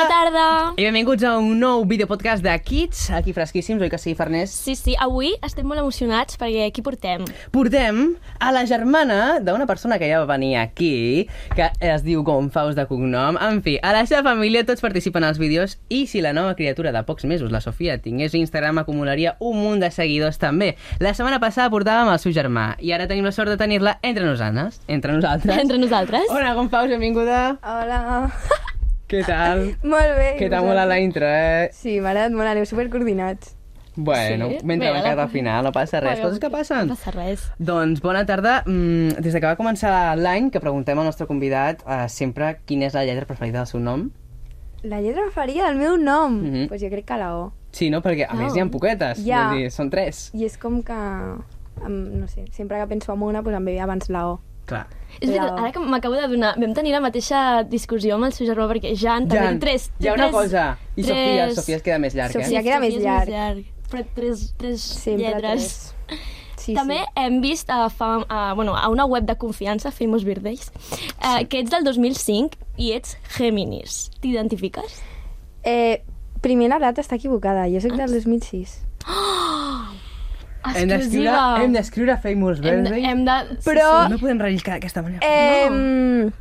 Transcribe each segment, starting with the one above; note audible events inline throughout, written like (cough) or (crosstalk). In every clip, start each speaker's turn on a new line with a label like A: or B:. A: Hola!
B: I benvinguts a un nou videopodcast de Kids, aquí fresquíssims, oi que sí, Farners?
A: Sí, sí, avui estem molt emocionats perquè aquí portem.
B: Portem a la germana d'una persona que ja va venir aquí, que es diu Gonfaus de cognom. En fi, a la seva família tots participen als vídeos i si la nova criatura de pocs mesos, la Sofia, tingués Instagram acumularia un munt de seguidors també. La setmana passada portàvem el seu germà i ara tenim la sort de tenir-la entre nosaltres. Entre nosaltres.
A: Entre nosaltres.
B: Hola, Gonfaus, benvinguda.
C: Hola. (laughs)
B: Què tal?
C: Molt bé.
B: Que t'ha molat la intro, eh?
C: Sí, m'ha agradat molt, aneu supercoordinats.
B: Bueno,
A: Sí,
B: sí, mentre
A: bé,
B: hem quedat
A: la-
B: al final, no passa res.
A: Bueno,
B: Coses que passen.
A: No passa res.
B: Doncs bona tarda. Mm, des de que va començar l'any, que preguntem al nostre convidat eh, sempre quina és la lletra preferida del seu nom.
C: La lletra preferida del meu nom? Doncs
B: Mhm.
C: pues jo crec que la O.
B: Sí, no? Perquè a
A: Oh.
B: més hi ha poquetes.
C: Ja.
B: Vull dir, són tres.
C: I és com que, em, no sé, sempre que penso en una, pues em ve abans la O.
B: Clar.
A: És veritat, ara que m'acabo de donar, vam tenir la mateixa discussió amb el seu germà perquè Jan, també té
B: Jan,
A: tres.
B: hi ha una
A: tres-
B: cosa. I Sofia,
A: tres-
B: Sofia es queda més llarg,
C: Sofia
B: eh?
C: Ja queda més
A: és
C: llarg.
A: Però tres, tres
C: Sempre
A: lletres.
C: tres. Sí,
A: També
C: sí.
A: hem vist a, fa, a, bueno, a una web de confiança, Famous Birthdays, eh, que ets del 2005 i ets Géminis. T'identifiques?
C: Eh, primer la data està equivocada, jo
A: Ah.
C: soc del 2006.
B: eh? Hem d'escriure
A: Exclusiva.
B: hem d'escriure Famous
A: Hem de-
B: Birthday.
A: hem de... sí,
C: Però-
B: No podem relliscar d'aquesta manera.
C: Eh, no.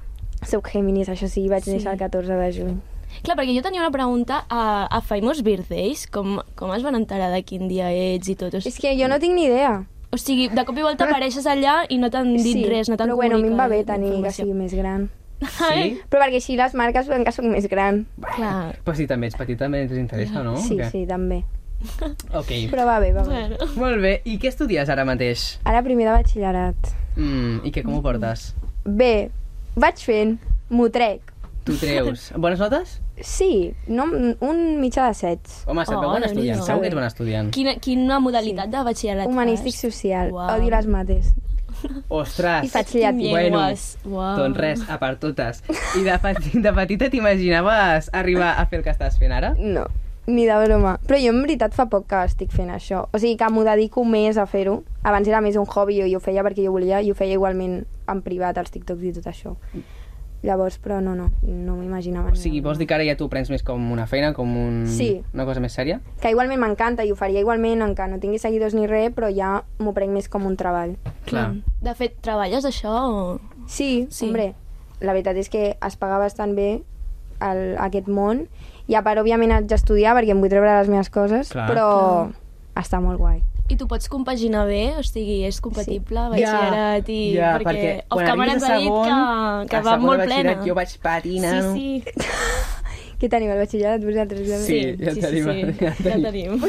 C: Soc Géminis, això sí, vaig
A: Sí.
C: sí. néixer el 14 de juny.
A: sí. Clar, perquè jo tenia una pregunta a, a Famous Birthdays, com, com es van enterar de quin dia ets i tot. O sigui,
C: És que jo no tinc ni idea.
A: o sigui de cop i
C: (laughs)
A: volta apareixes allà i no t'han dit
C: sí,
A: res, no t'han
C: però bueno, a mi em va bé
A: comunicat
C: tenir que
A: informació.
C: sigui més gran.
B: Sí?
C: Però perquè així les marques veuen que soc més gran.
A: Clar.
B: Però si també ets petita, també ens interessa, no?
C: Sí,
B: O què?
C: sí, també.
B: Ok.
C: Però va bé, va bé.
A: Bueno.
B: Molt bé. I què estudies ara mateix?
C: Ara primer de batxillerat.
B: Mm, I què, com ho portes?
C: Bé, vaig fent, m'ho trec.
B: Tu
A: (laughs)
B: treus. Bones notes?
C: Sí, no, un mitjà de sets.
B: Home, se't
A: Oh,
B: veu bon estudiant.
A: Déu-n'hi-do.
B: Segur que ets bon estudiant.
A: Quina, quina modalitat de batxillerat
C: Humanístic
A: fas?
C: social.
A: Uau.
C: Odio les mates.
B: Ostres!
C: I faig llatí.
B: Bueno,
A: Llengües. Uau.
B: doncs res, a per totes. I de, peti, de petita t'imaginaves arribar a fer el que estàs fent ara?
C: No, ni de broma. Però jo en veritat fa poc que estic fent això. O sigui que m'ho dedico més a fer-ho. Abans era més un hobby, jo, jo ho feia perquè jo volia, i ho feia igualment en privat, els TikToks i tot això. Llavors, però no, no, no
B: O
C: m'imaginava. ni de
B: sigui, vols dir que
C: broma.
B: ara ja t'ho prens més com una feina, com un...
C: Sí.
B: una cosa més sèria?
C: Que igualment m'encanta i ho faria igualment, encara no tingui seguidors ni res, però ja m'ho prenc més com un treball.
B: Clar.
A: De fet, treballes això o...
C: Sí,
A: Sí.
C: sí, hombre. La veritat és que es paga bastant bé el, aquest món. I a part, òbviament, haig d'estudiar perquè em vull treure les meves coses,
B: Clar.
C: Clar. però està molt guai. (laughs)
A: I tu pots compaginar bé? O sigui, és compatible sí. batxillerat i...
B: ja,
A: perquè,
B: quan
A: off camera
B: arribes
A: ens
B: a
A: ha dit
B: segon,
A: que, que
B: a
A: va
B: segon de
A: molt
B: batxillerat
A: plena.
B: Jo vaig patinar.
A: Sí, sí.
C: Què teniu, el batxillerat, vosaltres?
B: Sí, ja tenim,
A: sí,
B: ja
A: ja
B: tenim.
A: tenim.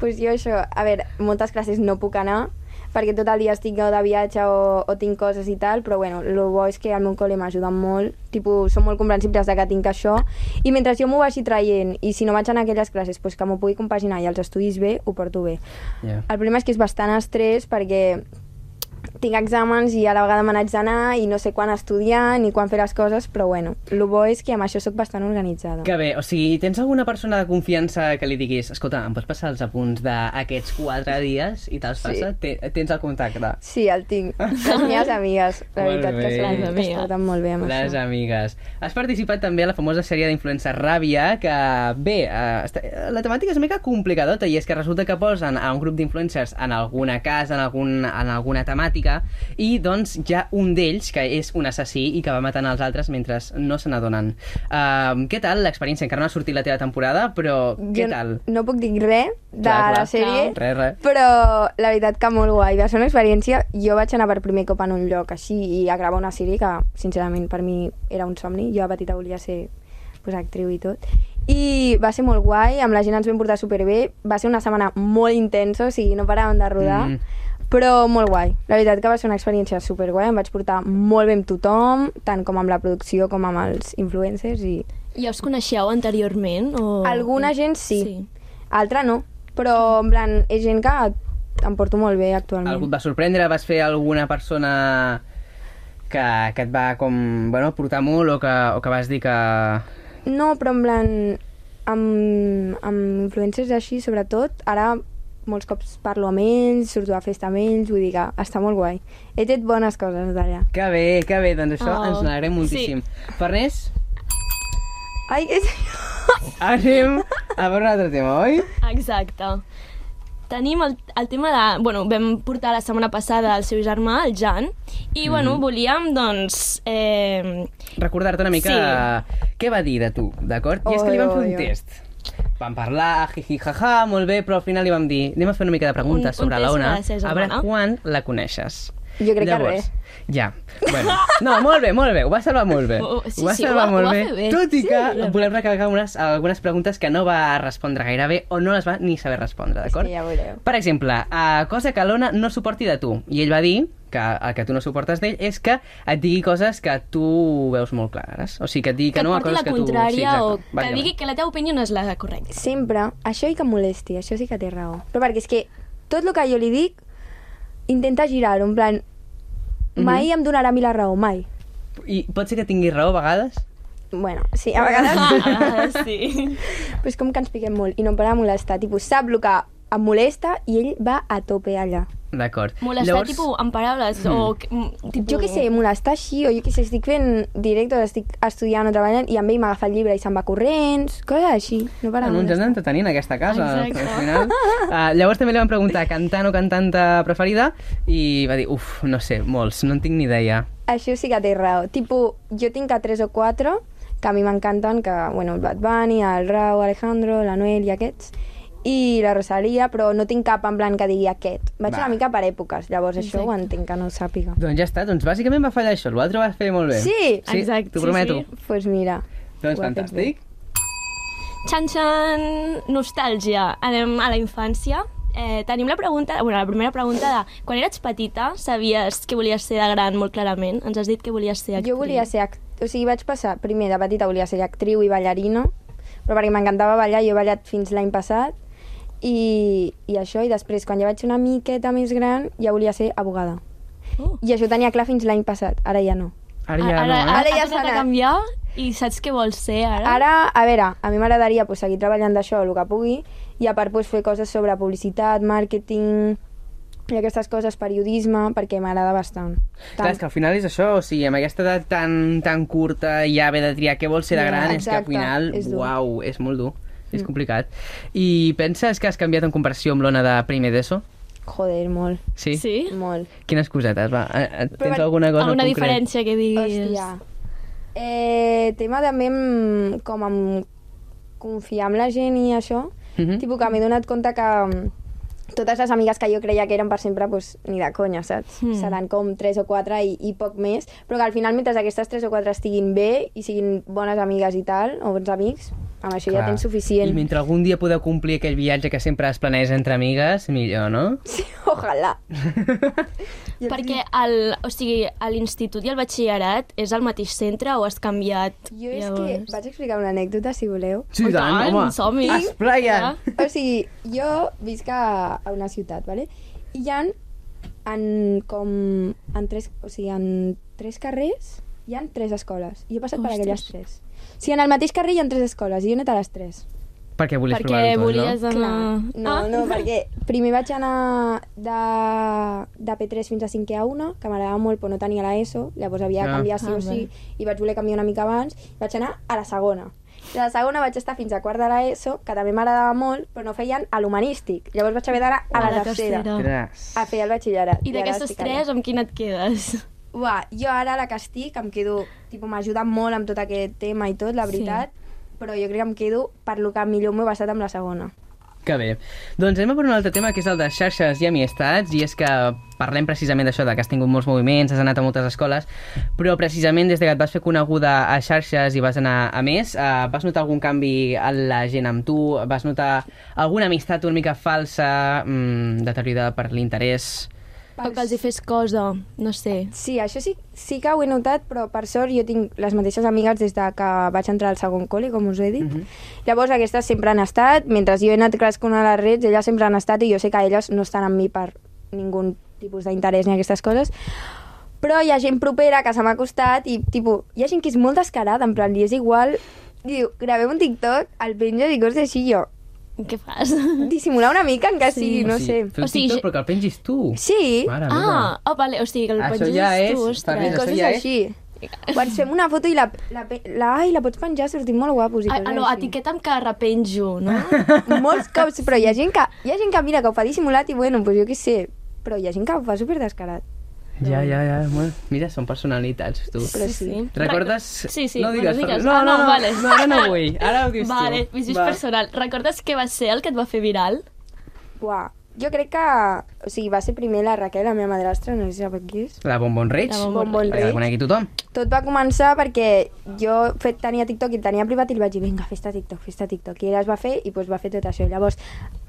C: pues jo això, a veure, moltes classes no puc anar, perquè tot el dia estic o de viatge o, o tinc coses i tal, però bueno, el bo és que al meu col·le m'ajuden molt, tipus, són molt comprensibles de que tinc això, i mentre jo m'ho vagi traient, i si no vaig anar a aquelles classes, pues que m'ho pugui compaginar i els estudis bé, ho porto bé.
B: Ja.
C: El problema és que és bastant estrès perquè tinc exàmens i a la vegada me n'haig d'anar i no sé quan estudiar ni quan fer les coses, però bueno, el bo és que amb això sóc bastant organitzada.
B: Que bé, o sigui, tens alguna persona de confiança que li diguis escolta, em pots passar els apunts d'aquests quatre dies i te'ls passa? Sí. Tens el contacte.
C: Sí, el
B: (laughs)
C: tinc. Les meves amigues, la
B: Molt
C: veritat, que
B: bé.
A: Les
C: són les que es
A: amigues.
C: porten molt bé amb
B: Les
C: això.
B: amigues. Has participat també a la famosa sèrie d'influencer Ràbia, que bé, eh, està, la temàtica és una mica complicadota i és que resulta que posen a un grup d'influencers en alguna casa, en, algun, en alguna temàtica, i doncs hi ha un d'ells que és un assassí i que va matant els altres mentre no se n'adonen. Um, què tal l'experiència? Encara no ha sortit la teva temporada, però què
C: Jo
B: tal?
C: No puc dir res de
B: Clar, clar.
C: la sèrie,
B: Res, res.
C: però la veritat que molt guai. Va ser una experiència... Jo vaig anar per primer cop en un lloc així i a gravar una sèrie que, sincerament, per mi era un somni. Jo a petita volia ser pues, actriu i tot. I va ser molt guai, amb la gent ens vam portar superbé. Va ser una setmana molt intensa, o sigui, no paràvem de rodar.
B: Mm.
C: Mm. Però molt guai. La veritat que va ser una experiència superguai. Em vaig portar molt bé amb tothom, tant com amb la producció com amb els influencers. I...
A: Ja us coneixeu anteriorment? O...
C: Alguna gent Oh, sí.
A: sí.
C: Altra no. Però, en plan, és gent que em porto molt bé actualment.
B: Algú et va sorprendre? Vas fer alguna persona que, que et va com, bueno, portar molt o que, o que vas dir que...
C: No, però en plan, amb, amb influencers així, sobretot, ara molts cops parlo amb ells, surto a festa amb ells, vull dir que està molt guai. He tret bones coses d'allà.
B: Que bé, que bé, doncs això
A: Oh,
B: oh, ens n'alegrem moltíssim. Sí. Farners?
C: Ai, que...
B: Anem a veure un altre tema, oi?
A: Exacte. Tenim el, el tema de... Bueno, vam portar la setmana passada el seu germà, el Jan,
B: Mm-hmm.
A: i, bueno, volíem, doncs... Eh,
B: Recordar-te una mica sí. què va dir de tu, d'acord? I és que li vam fer
C: Oi,
B: un
C: oi, oi.
B: test. Vam parlar, jiji, jaja, molt bé, però al final li vam dir anem a fer una mica de preguntes
A: Un- un
B: sobre
A: test
B: l'Ona,
A: per ser
B: a veure
A: germana.
B: quan la coneixes.
C: Jo crec que
B: Llavors, que Ja. Bueno, no, molt bé, molt bé, ho va salvar molt bé.
A: (laughs) Oh, sí,
B: ho va
A: sí,
B: salvar
A: ho va-
B: molt
A: ho va
B: bé,
A: fer bé.
B: Tot i
A: Sí,
B: que
A: la-
B: volem recalcar unes, algunes preguntes que no va respondre gaire bé o no les va ni saber respondre,
C: És
B: d'acord?
C: que ja veureu.
B: Per exemple, a cosa que l'Ona no suporti de tu. I ell va dir que el que tu no suportes d'ell és que et digui coses que tu veus molt clares. O sigui, que et digui que,
A: que,
B: no a
A: et porti
B: coses
A: la
B: que tu...
A: contrària
B: exacte,
A: o que
B: bàsicament.
A: digui que la teva opinió no és la correcta.
C: Sempre, això i que em molesti, això sí que té raó. Però perquè és que tot el que jo li dic intenta girar-ho, en plan, mai em donarà a mi la raó, mai.
B: I pot ser que tingui raó a vegades?
C: Bueno, sí, a
A: (laughs)
C: vegades...
A: Ah, sí.
C: Però és com que ens piquem molt i no em para de molestar. Tipo, sap el que em molesta i ell va a tope allà.
B: D'acord.
A: Molestar, Llavors... tipus, amb paraules mm.
B: Hmm.
A: o... que- mm, Tipus...
C: Jo què sé, molestar així, o jo què sé, estic fent directes, estic estudiant o treballant, i amb ell m'agafa el llibre i se'n va corrents, coses així, no para de
B: Ah, No ens hem
C: molestar.
B: d'entretenir en aquesta casa.
A: Exacte.
B: Al final. Uh, llavors també li van preguntar cantant o cantanta preferida i va dir, uf, no sé, molts, no en tinc ni idea.
C: Això sí que té raó. Tipo, jo tinc a tres o quatre que a mi m'encanten, que, bueno, el Bad Bunny, el Rau, Alejandro, l'Anuel i aquests, i la Rosalia, però no tinc cap en plan que digui aquest. Vaig
B: Va.
C: va. una mica per èpoques, llavors això ho
A: Exacte.
C: entenc que no ho sàpiga.
B: Doncs ja està, doncs bàsicament va fallar això, l'altre ho va fer molt bé.
C: Sí,
B: sí
A: exacte,
B: T'ho
A: sí,
B: prometo.
A: sí.
C: Doncs pues mira,
B: Doncs
C: ho ha fet bé.
B: fantàstic.
A: Xan, xan, nostàlgia. Anem a la infància. Eh, tenim la pregunta, bueno, la primera pregunta de quan eres petita sabies que volies ser de gran molt clarament? Ens has dit que volies ser actriu.
C: Jo volia ser... act- O sigui, vaig passar... Primer, de petita volia ser actriu i ballarina, però perquè m'encantava ballar, jo he ballat fins l'any passat, i, i això, i després, quan ja vaig ser una miqueta més gran, ja volia ser abogada.
A: Oh.
C: I això ho tenia clar fins l'any passat, ara ja no.
B: Ara ja
A: ara,
B: no, eh?
A: ara,
C: Ara ja
A: ja s'ha
C: s'ha
A: de
C: anat.
A: canviar i saps què vols ser ara?
C: Ara, a veure, a mi m'agradaria pues, seguir treballant d'això el que pugui, i a part pues, fer coses sobre publicitat, màrqueting, i aquestes coses, periodisme, perquè m'agrada bastant.
B: Clar, és que al final és això, o sigui, amb aquesta edat tan, tan curta i ja haver de triar què vols ser de
C: Ja,
B: gran, és que al
C: exacte,
B: final,
C: és dur. Mm.
B: uau, és molt dur, és complicat. I penses que has canviat en comparació amb l'Ona de primer d'ESO?
C: Joder, molt,
B: Sí?
A: Sí?
C: molt.
B: Quines cosetes, va? eh, eh, Tens
C: Però-
B: alguna cosa en
A: Alguna
B: concret?
A: diferència que diguis?
C: Hòstia. Eh, tema també amb, com amb confiar en la gent i això.
B: Mhm.
C: Tipo que m'he donat compte que mm, totes les amigues que jo creia que eren per sempre, pues, ni de conya, saps?
A: Mm.
C: Seran com tres o quatre i, i poc més, però que al final mentre aquestes tres o quatre estiguin bé i siguin bones amigues i tal, o bons amics, amb això ja
B: Clar.
C: tens suficient.
B: I mentre algun dia podeu complir aquell viatge que sempre es planeja entre amigues, millor, no?
C: Sí, (laughs) ojalà.
A: Perquè el, o sigui, a l'institut i el batxillerat és al mateix centre o has canviat?
C: Jo és que vaig explicar una anècdota, si voleu.
B: Sí,
A: Oh, i
B: tant,
A: tant,
B: home.
A: som-hi.
B: Es plaien.
A: Ja.
C: O sigui, jo visc a, a una ciutat, vale? I hi ha en, com, en, tres, o sigui, en tres carrers hi han tres escoles. I jo he passat per
A: Ostres.
C: aquelles tres. O sigui, en el mateix carrer hi ha tres escoles i jo he anat a les tres.
B: Perquè volies
A: Perquè
B: provar-ho tot,
A: volies
C: eh?
B: no?
A: anar...
C: No,
A: Ah.
C: no, perquè primer vaig anar de, de P3 fins a 5 a 1, que m'agradava molt, però no tenia l'ESO, llavors havia de
B: Ah.
C: canviar sí
A: Ah,
C: o sí, i vaig voler canviar una mica abans, i vaig anar a la segona. I a la segona vaig estar fins a quart de l'ESO, que també m'agradava molt, però no feien a l'humanístic. Llavors vaig haver d'anar a, la, tercera,
B: Ostres.
C: a fer el batxillerat.
A: I d'aquestes tres, amb quina et quedes?
C: Uà, jo ara la que estic em quedo... Tipo, m'ajuda molt amb tot aquest tema i tot, la
A: Sí.
C: veritat, però jo crec que em quedo per lo que millor m'ho he basat amb la segona.
B: Que bé. Doncs anem a per un altre tema, que és el de xarxes i amistats, i és que parlem precisament d'això, de que has tingut molts moviments, has anat a moltes escoles, però precisament des de que et vas fer coneguda a xarxes i vas anar a més, eh, vas notar algun canvi en la gent amb tu? Vas notar alguna amistat una mica falsa, mm, deteriorada per l'interès?
A: O que els hi fes cosa, no sé.
C: Sí, això sí, sí que ho he notat, però per sort jo tinc les mateixes amigues des de que vaig entrar al segon col·le, com us he dit.
B: Mhm.
C: Llavors aquestes sempre han estat, mentre jo he anat crescunt a les reds, elles sempre han estat i jo sé que elles no estan amb mi per ningun tipus d'interès ni aquestes coses. Però hi ha gent propera que se m'ha acostat i tipo, hi ha gent que és molt descarada, en plan, li és igual... Diu, gravem un TikTok, el penges i coses així jo.
A: Què fas?
C: Dissimular una mica encara sí. sigui, no
B: o sigui,
C: sé.
B: Fer un
A: O sigui,
B: TikTok,
A: ge-
B: però que el pengis tu.
C: Sí,
B: Mare meva.
A: Ah, oh, vale, o sigui que el
B: Això
A: penges
B: ja és
A: tu, ostres. Ah,
B: família.
C: coses
B: ja és-
C: així. O ens fem una foto i la, la, pe- la, ai, la pots penjar, sortim molt guapos i
A: A,
C: coses
A: a, Ah, no,
C: així.
A: etiqueta'm que repenjo,
B: (laughs)
A: no?
C: (laughs) Molts cops, però hi ha gent que, hi ha gent que mira que ho fa dissimulat i bueno, pues jo què sé, però hi ha gent que ho fa superdescarat.
B: Ja, ja, ja. Bueno, mira, són personalitats, tu.
C: Però sí.
B: Recordes?
A: Sí, sí.
B: No
A: bueno,
B: digues. No,
A: Ah,
B: no,
A: vale.
B: no, ara no vull. Ara ho dius tu.
A: Vale, visís
B: Va.
A: personal. Recordes què va ser el que et va fer viral?
C: Buah, jo crec que... O sigui, va ser primer la Raquel, la meva madrastra, no sé si sap qui és.
B: La Bonbon Reig.
A: La Bonbon
C: Bonbon
B: Que La
C: Reig.
B: conegui tothom.
C: Tot va començar perquè jo fet, tenia TikTok i el tenia privat i li vaig dir, vinga, fes-te TikTok, fes-te TikTok. I ella es va fer i pues, va fer tot això. I llavors,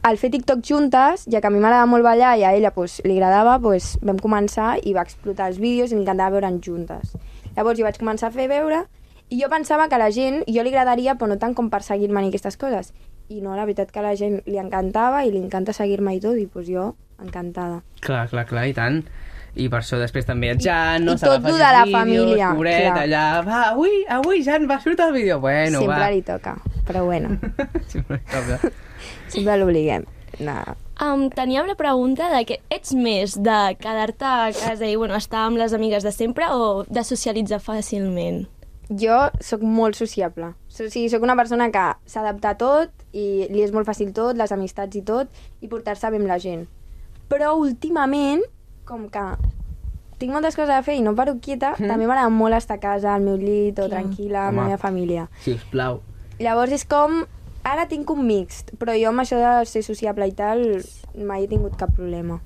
C: al fer TikTok juntes, ja que a mi m'agradava molt ballar i a ella pues, li agradava, pues, vam començar i va explotar els vídeos i m'encantava veure'n juntes. Llavors jo vaig començar a fer veure i jo pensava que a la gent, jo li agradaria, però no tant com per seguir-me ni aquestes coses. I no, la veritat que a la gent li encantava i li encanta seguir-me i tot, i pues, jo encantada.
B: Clar, clar, clar, i tant. I per això després també et Jan, no?
C: i
B: Se la
C: tot
B: facis
C: lo de la
B: vídeos,
C: família,
B: Pobret,
C: clar.
B: allà, va, avui, avui Jan va sortir el vídeo. Bueno,
C: Sempre
B: va.
C: li toca, però bueno,
B: (laughs) Sempre li toca.
C: sempre l'obliguem. No.
A: Um, teníem la pregunta de que ets més de quedar-te a casa i bueno, estar amb les amigues de sempre o de socialitzar fàcilment?
C: Jo sóc molt sociable. O sigui, sóc una persona que s'adapta a tot i li és molt fàcil tot, les amistats i tot, i portar-se bé amb la gent. Però últimament, com que tinc moltes coses a fer i no paro quieta, mm. també m'agrada molt estar a casa, al meu llit, o
A: Clar.
C: tranquil·la,
B: Home.
C: amb la meva família.
B: Si us plau.
C: Llavors és com... Ara tinc un mixt, però jo amb això de ser sociable i tal mai he tingut cap problema.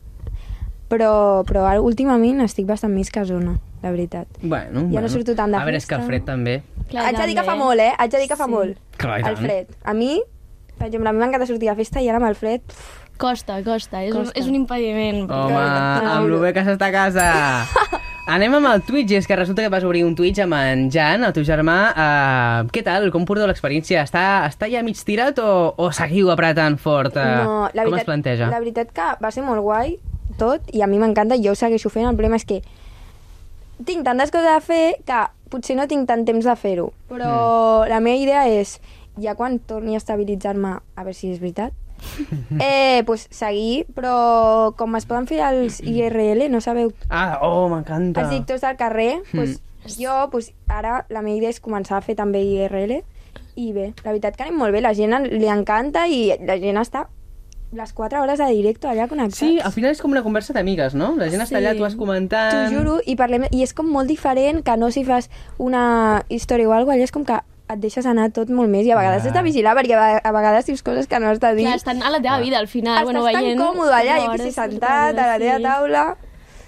C: Però, però ara, últimament estic bastant més casona, la veritat.
B: Bueno,
C: Ja no
B: bueno.
C: surto tant de
B: A veure, és que el
C: festa.
B: fred també.
A: Clar,
C: Haig de dir que fa
A: també.
C: molt, eh? Haig de dir que fa
A: Sí.
C: molt.
B: Clar, i
C: el
B: tant.
C: fred. A mi, per exemple, a mi m'encanta sortir a festa i ara amb el fred... pff,
A: Costa, costa. És, Un,
C: Costa.
A: és un impediment.
B: Home,
C: Clar.
B: amb lo bé que s'està a casa.
C: (laughs)
B: Anem amb el Twitch, és que resulta que vas obrir un Twitch amb en Jan, el teu germà. Uh, què tal? Com porteu l'experiència? Està, està ja mig tirat o, o seguiu apretant fort? Uh,
C: no, la
B: Com
C: veritat,
B: es planteja?
C: La veritat que va ser molt guai tot i a mi m'encanta, jo ho segueixo fent. El problema és que tinc tantes coses a fer que potser no tinc tant temps de fer-ho. Però mm. la meva idea és, ja quan torni a estabilitzar-me, a veure si és
B: (laughs)
C: veritat, eh, pues, seguir, però com es poden fer
B: (clears throat)
C: els IRL, no sabeu
B: Ah, oh, m'encanta.
C: els dictors del carrer,
B: Hmm.
C: doncs, jo doncs, ara la meva idea és començar a fer també IRL i bé, la veritat que anem molt bé, la gent en- li encanta i la gent està les 4 hores de directe allà connectats.
B: Sí, al final és com una conversa d'amigues, no? La gent està allà,
A: Sí.
B: tu vas comentant...
C: T'ho juro, i, parlem, i és com molt diferent que no si fas una història o alguna cosa, allà és com que et deixes anar tot molt més i a vegades
B: Ah.
C: has de vigilar perquè a, ve- a vegades dius coses que no has de dir.
A: Clar, estan a la teva vida, al final.
C: Estàs
A: bueno,
C: tan
A: veient...
C: còmode allà, jo
A: hores,
C: que sé, sentat a la
A: sí.
C: teva taula.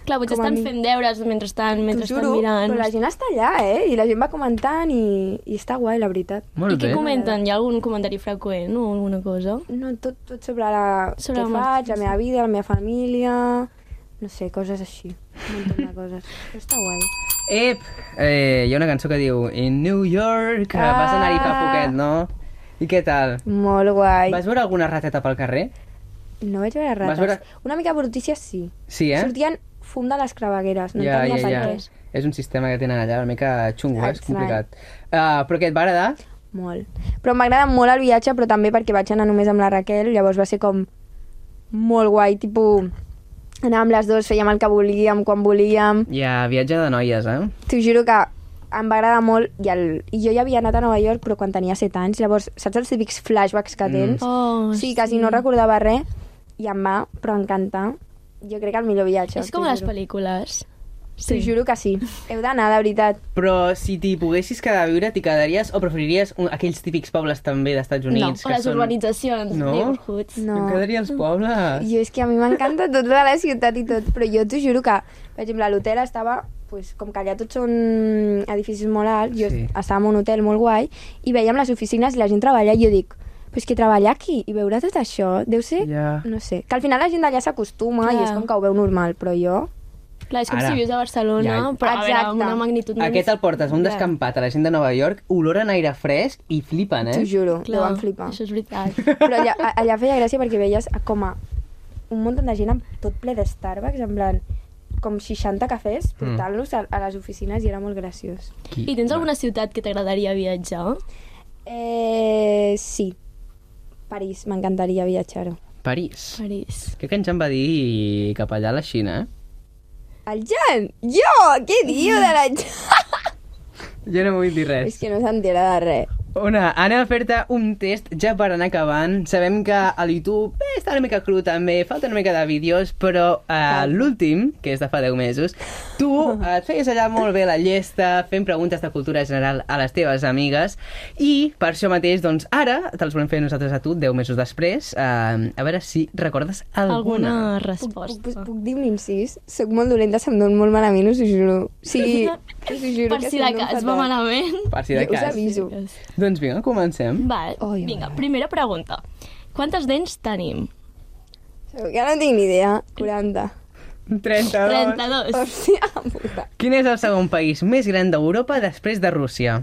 A: Clar, potser
C: com a
A: estan
C: mi.
A: fent deures mentre estan, mentre
C: T'ho
A: estan
C: juro,
A: mirant.
C: però la gent està allà, eh? I la gent va comentant i, i està guai, la veritat.
B: Molt
A: I què
B: bé.
A: comenten? Hi ha algun comentari freqüent o alguna cosa?
C: No, tot, tot sobre, la,
A: Sobre
C: sobre
A: la
C: què faig,
A: Martina,
C: la meva vida, la meva família... No sé, coses així. Un munt de coses. Però està guai.
B: Ep! Eh, hi ha una cançó que diu In New York, que vas anar-hi fa
C: Ah.
B: poquet, no? I què tal?
C: Molt guai.
B: Vas veure alguna rateta pel carrer?
C: No vaig veure rates.
B: veure-
C: Una mica brutícia sí.
B: Sí, eh?
C: Eh? Sortien fum de les cravagueres. No
B: ja,
C: entenia
B: ja,
C: per
B: ja.
C: què.
B: És un sistema que tenen allà una mica xungo, eh? és
C: Estrany.
B: complicat. Uh, però què et va agradar?
C: Molt. Però m'agrada molt el viatge, però també perquè vaig anar només amb la Raquel, llavors va ser com molt guai, tipus... Anàvem les dues, fèiem el que volíem, quan volíem...
B: Ja, viatge de noies, eh?
C: T'ho juro que em va agradar molt i, el, i jo ja havia anat a Nova York però quan tenia 7 anys, llavors saps els típics flashbacks que tens?
A: Oh,
C: sí, quasi no recordava res i em va, però encantar. Jo crec que el millor viatge.
A: És com
C: t'ho
A: a les
C: juro.
A: pel·lícules.
C: T'ho juro que sí. Heu d'anar, de veritat.
B: Però si t'hi poguessis quedar a viure, t'hi quedaries o preferiries un, aquells típics pobles també d'Estats
A: No,
B: Units?
A: o les urbanitzacions,
B: No?
A: neighborhoods.
C: No.
B: Em quedaria als
A: Ah.
B: pobles.
C: Jo és que a mi m'encanta tot de la ciutat i tot, però jo t'ho juro que, per exemple, a l'hotel estava, pues, com que allà tots són edificis molt alts, jo
B: Sí.
C: estava en un hotel molt guai, i veiem les oficines i la gent treballa, i jo dic, però és que treballar aquí i veure tot això deu ser...
B: Ja.
C: No sé, que al final la gent d'allà s'acostuma i
A: Clar.
C: és com que ho veu normal, però jo...
A: Clar, és com
B: Ara.
A: si vius a Barcelona,
B: Ja.
A: però a veure,
C: Exacte.
A: amb una magnitud... molt
B: Aquest el portes a un
C: Clar.
B: descampat a la gent de Nova York, oloren aire fresc i flipen, eh?
C: T'ho juro,
A: Clar,
C: Clar. deuen flipar.
A: Això és
C: (laughs)
A: veritat.
C: Però allà, a- allà feia gràcia perquè veies a- com a un munt de gent amb tot ple de Starbucks, en plan, com 60 cafès, portant-los a, a les oficines i era molt graciós.
B: Qui-
A: I tens alguna ciutat que t'agradaria viatjar?
C: Eh, sí. París, m'encantaria viatjar-ho.
B: París.
A: París.
B: Crec que en Jan va dir cap allà a la Xina, eh?
C: El Jan! Jo! Què diu de la Jan?
B: Jo no vull dir res.
C: És que no s'entera de res.
B: Una, anem a fer-te un test ja per anar acabant. Sabem que a YouTube eh, està una mica cru també, falta una mica de vídeos, però eh, l'últim, que és de fa 10 mesos, tu eh, et feies allà molt bé la llesta, fent preguntes de cultura general a les teves amigues, i per això mateix, doncs, ara te'ls volem fer nosaltres a tu, 10 mesos després, eh, a veure si recordes alguna.
A: Alguna
C: Puc,
A: resposta.
C: puc, puc dir un incís? Soc molt dolenta, se'm don molt malament, us ho juro. O
A: (laughs)
C: sigui, us ho juro
A: per
C: que
A: si
C: se'm
A: de
C: don
A: cas
C: fatal.
A: va malament.
B: Per si de
C: Jo us
B: cas.
C: aviso.
B: Doncs vinga, comencem.
A: Val,
C: Ai, ai,
A: vinga,
C: ai.
A: primera pregunta. Quantes dents tenim?
C: Ja no tinc ni idea. 40.
B: 32.
A: 32.
C: Hòstia puta.
B: Quin és el segon país més gran d'Europa després de Rússia?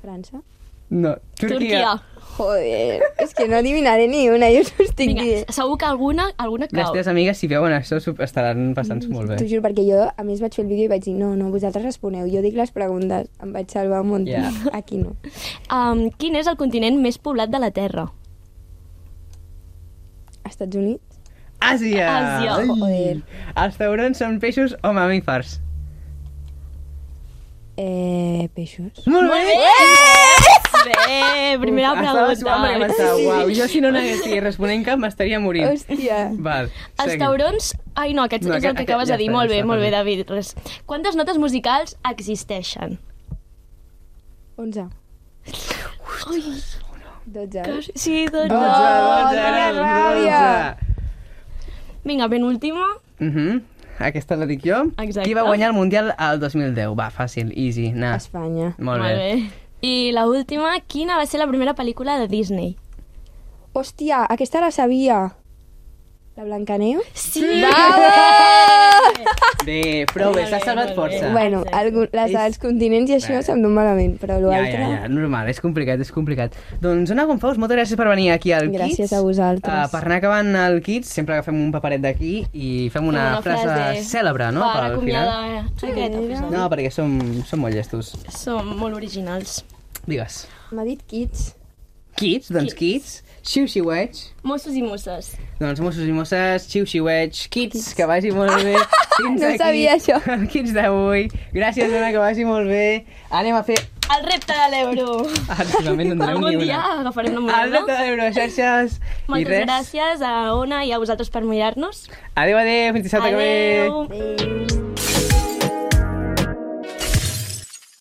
C: França?
B: No,
A: Turquia.
C: Joder, és que no adivinaré ni una, jo us ho estic
A: Vinga,
C: dient.
A: segur que alguna, alguna
B: Les
A: cau.
B: teves amigues, si veuen això, s'ho estaran passant molt
C: T'ho
B: bé.
C: juro, perquè jo, a més, vaig fer el vídeo i vaig dir no, no, vosaltres responeu, jo dic les preguntes. Em vaig salvar un munt.
B: Ja.
C: Aquí no.
A: Um, quin és el continent més poblat de la Terra?
C: Estats Units?
B: Àsia!
A: Àsia.
B: Ai.
C: Joder.
B: Els taurons són peixos o mamífers?
C: Eh, peixos.
B: Molt bé!
A: Bé, primera
B: Estava suant perquè
A: pregunta.
B: pensava, uau, jo si no n'haguessis responent cap m'estaria morint.
C: Hòstia.
B: Val,
A: Els
B: seguim.
A: taurons... Ai, no, aquest
B: No,
A: no, és el
B: aquest-
A: que acabes
B: ja
A: de dir.
B: està,
A: molt
B: ja
A: bé,
B: està,
A: molt bé,
B: perdó.
A: David. Res. Quantes notes musicals existeixen?
C: 11. 12.
A: Que- Sí, doncs...
B: Dotze,
C: Oh,
B: dotze,
C: quina
B: eren
C: ràbia.
B: dotze.
A: Vinga, penúltima.
B: Mhm. Aquesta la dic jo.
A: Exacte.
B: Qui va guanyar el Mundial al 2010? Va, fàcil, easy, anar.
C: Espanya.
B: Molt bé.
A: I la última, quina va ser la primera pel·lícula de Disney?
C: Hòstia, aquesta la sabia. La Blancaneu?
A: Sí!
B: Bé, prou bé,
A: Molt
B: s'ha
A: bé,
B: salvat
A: molt
B: força.
A: bé.
C: Bueno,
A: Exacte.
C: algun, les dels continents i això
B: Bé.
C: se'm dona malament, però
B: Ja,
C: l'altre...
B: ja, ja, normal, és complicat, és complicat. Doncs, Ona Gonfaus, moltes gràcies per venir aquí al Kids.
C: Gràcies a vosaltres.
B: Eh, per anar acabant el Kids, sempre agafem un paperet d'aquí i fem una, frase, cèlebre, no?,
A: Per
B: al
A: acomiadar
B: final.
A: aquest episodi.
B: No, perquè som, som molt llestos.
A: Som molt originals.
B: Digues.
C: M'ha dit kids.
B: Kids, doncs kids. Xiu, xiueig.
A: Mossos i mosses.
B: Doncs Mossos i Mosses, xiu, xiueig. Kids, que vagi molt bé. Fins
C: No
B: aquí
C: sabia això.
B: (laughs) El Kids d'avui. Gràcies, Ona, que vagi molt bé. Anem a fer...
A: El repte de l'euro.
B: Ah, realment no en donem
A: Algun
B: ni una.
A: dia agafarem la
B: El repte
A: moneda.
B: d'Euro, xarxes i
A: Moltes
B: res.
A: gràcies a Ona i a vosaltres per mirar-nos.
B: Adéu, adéu, fins dissabte que ve.
A: Adéu.
C: Adéu.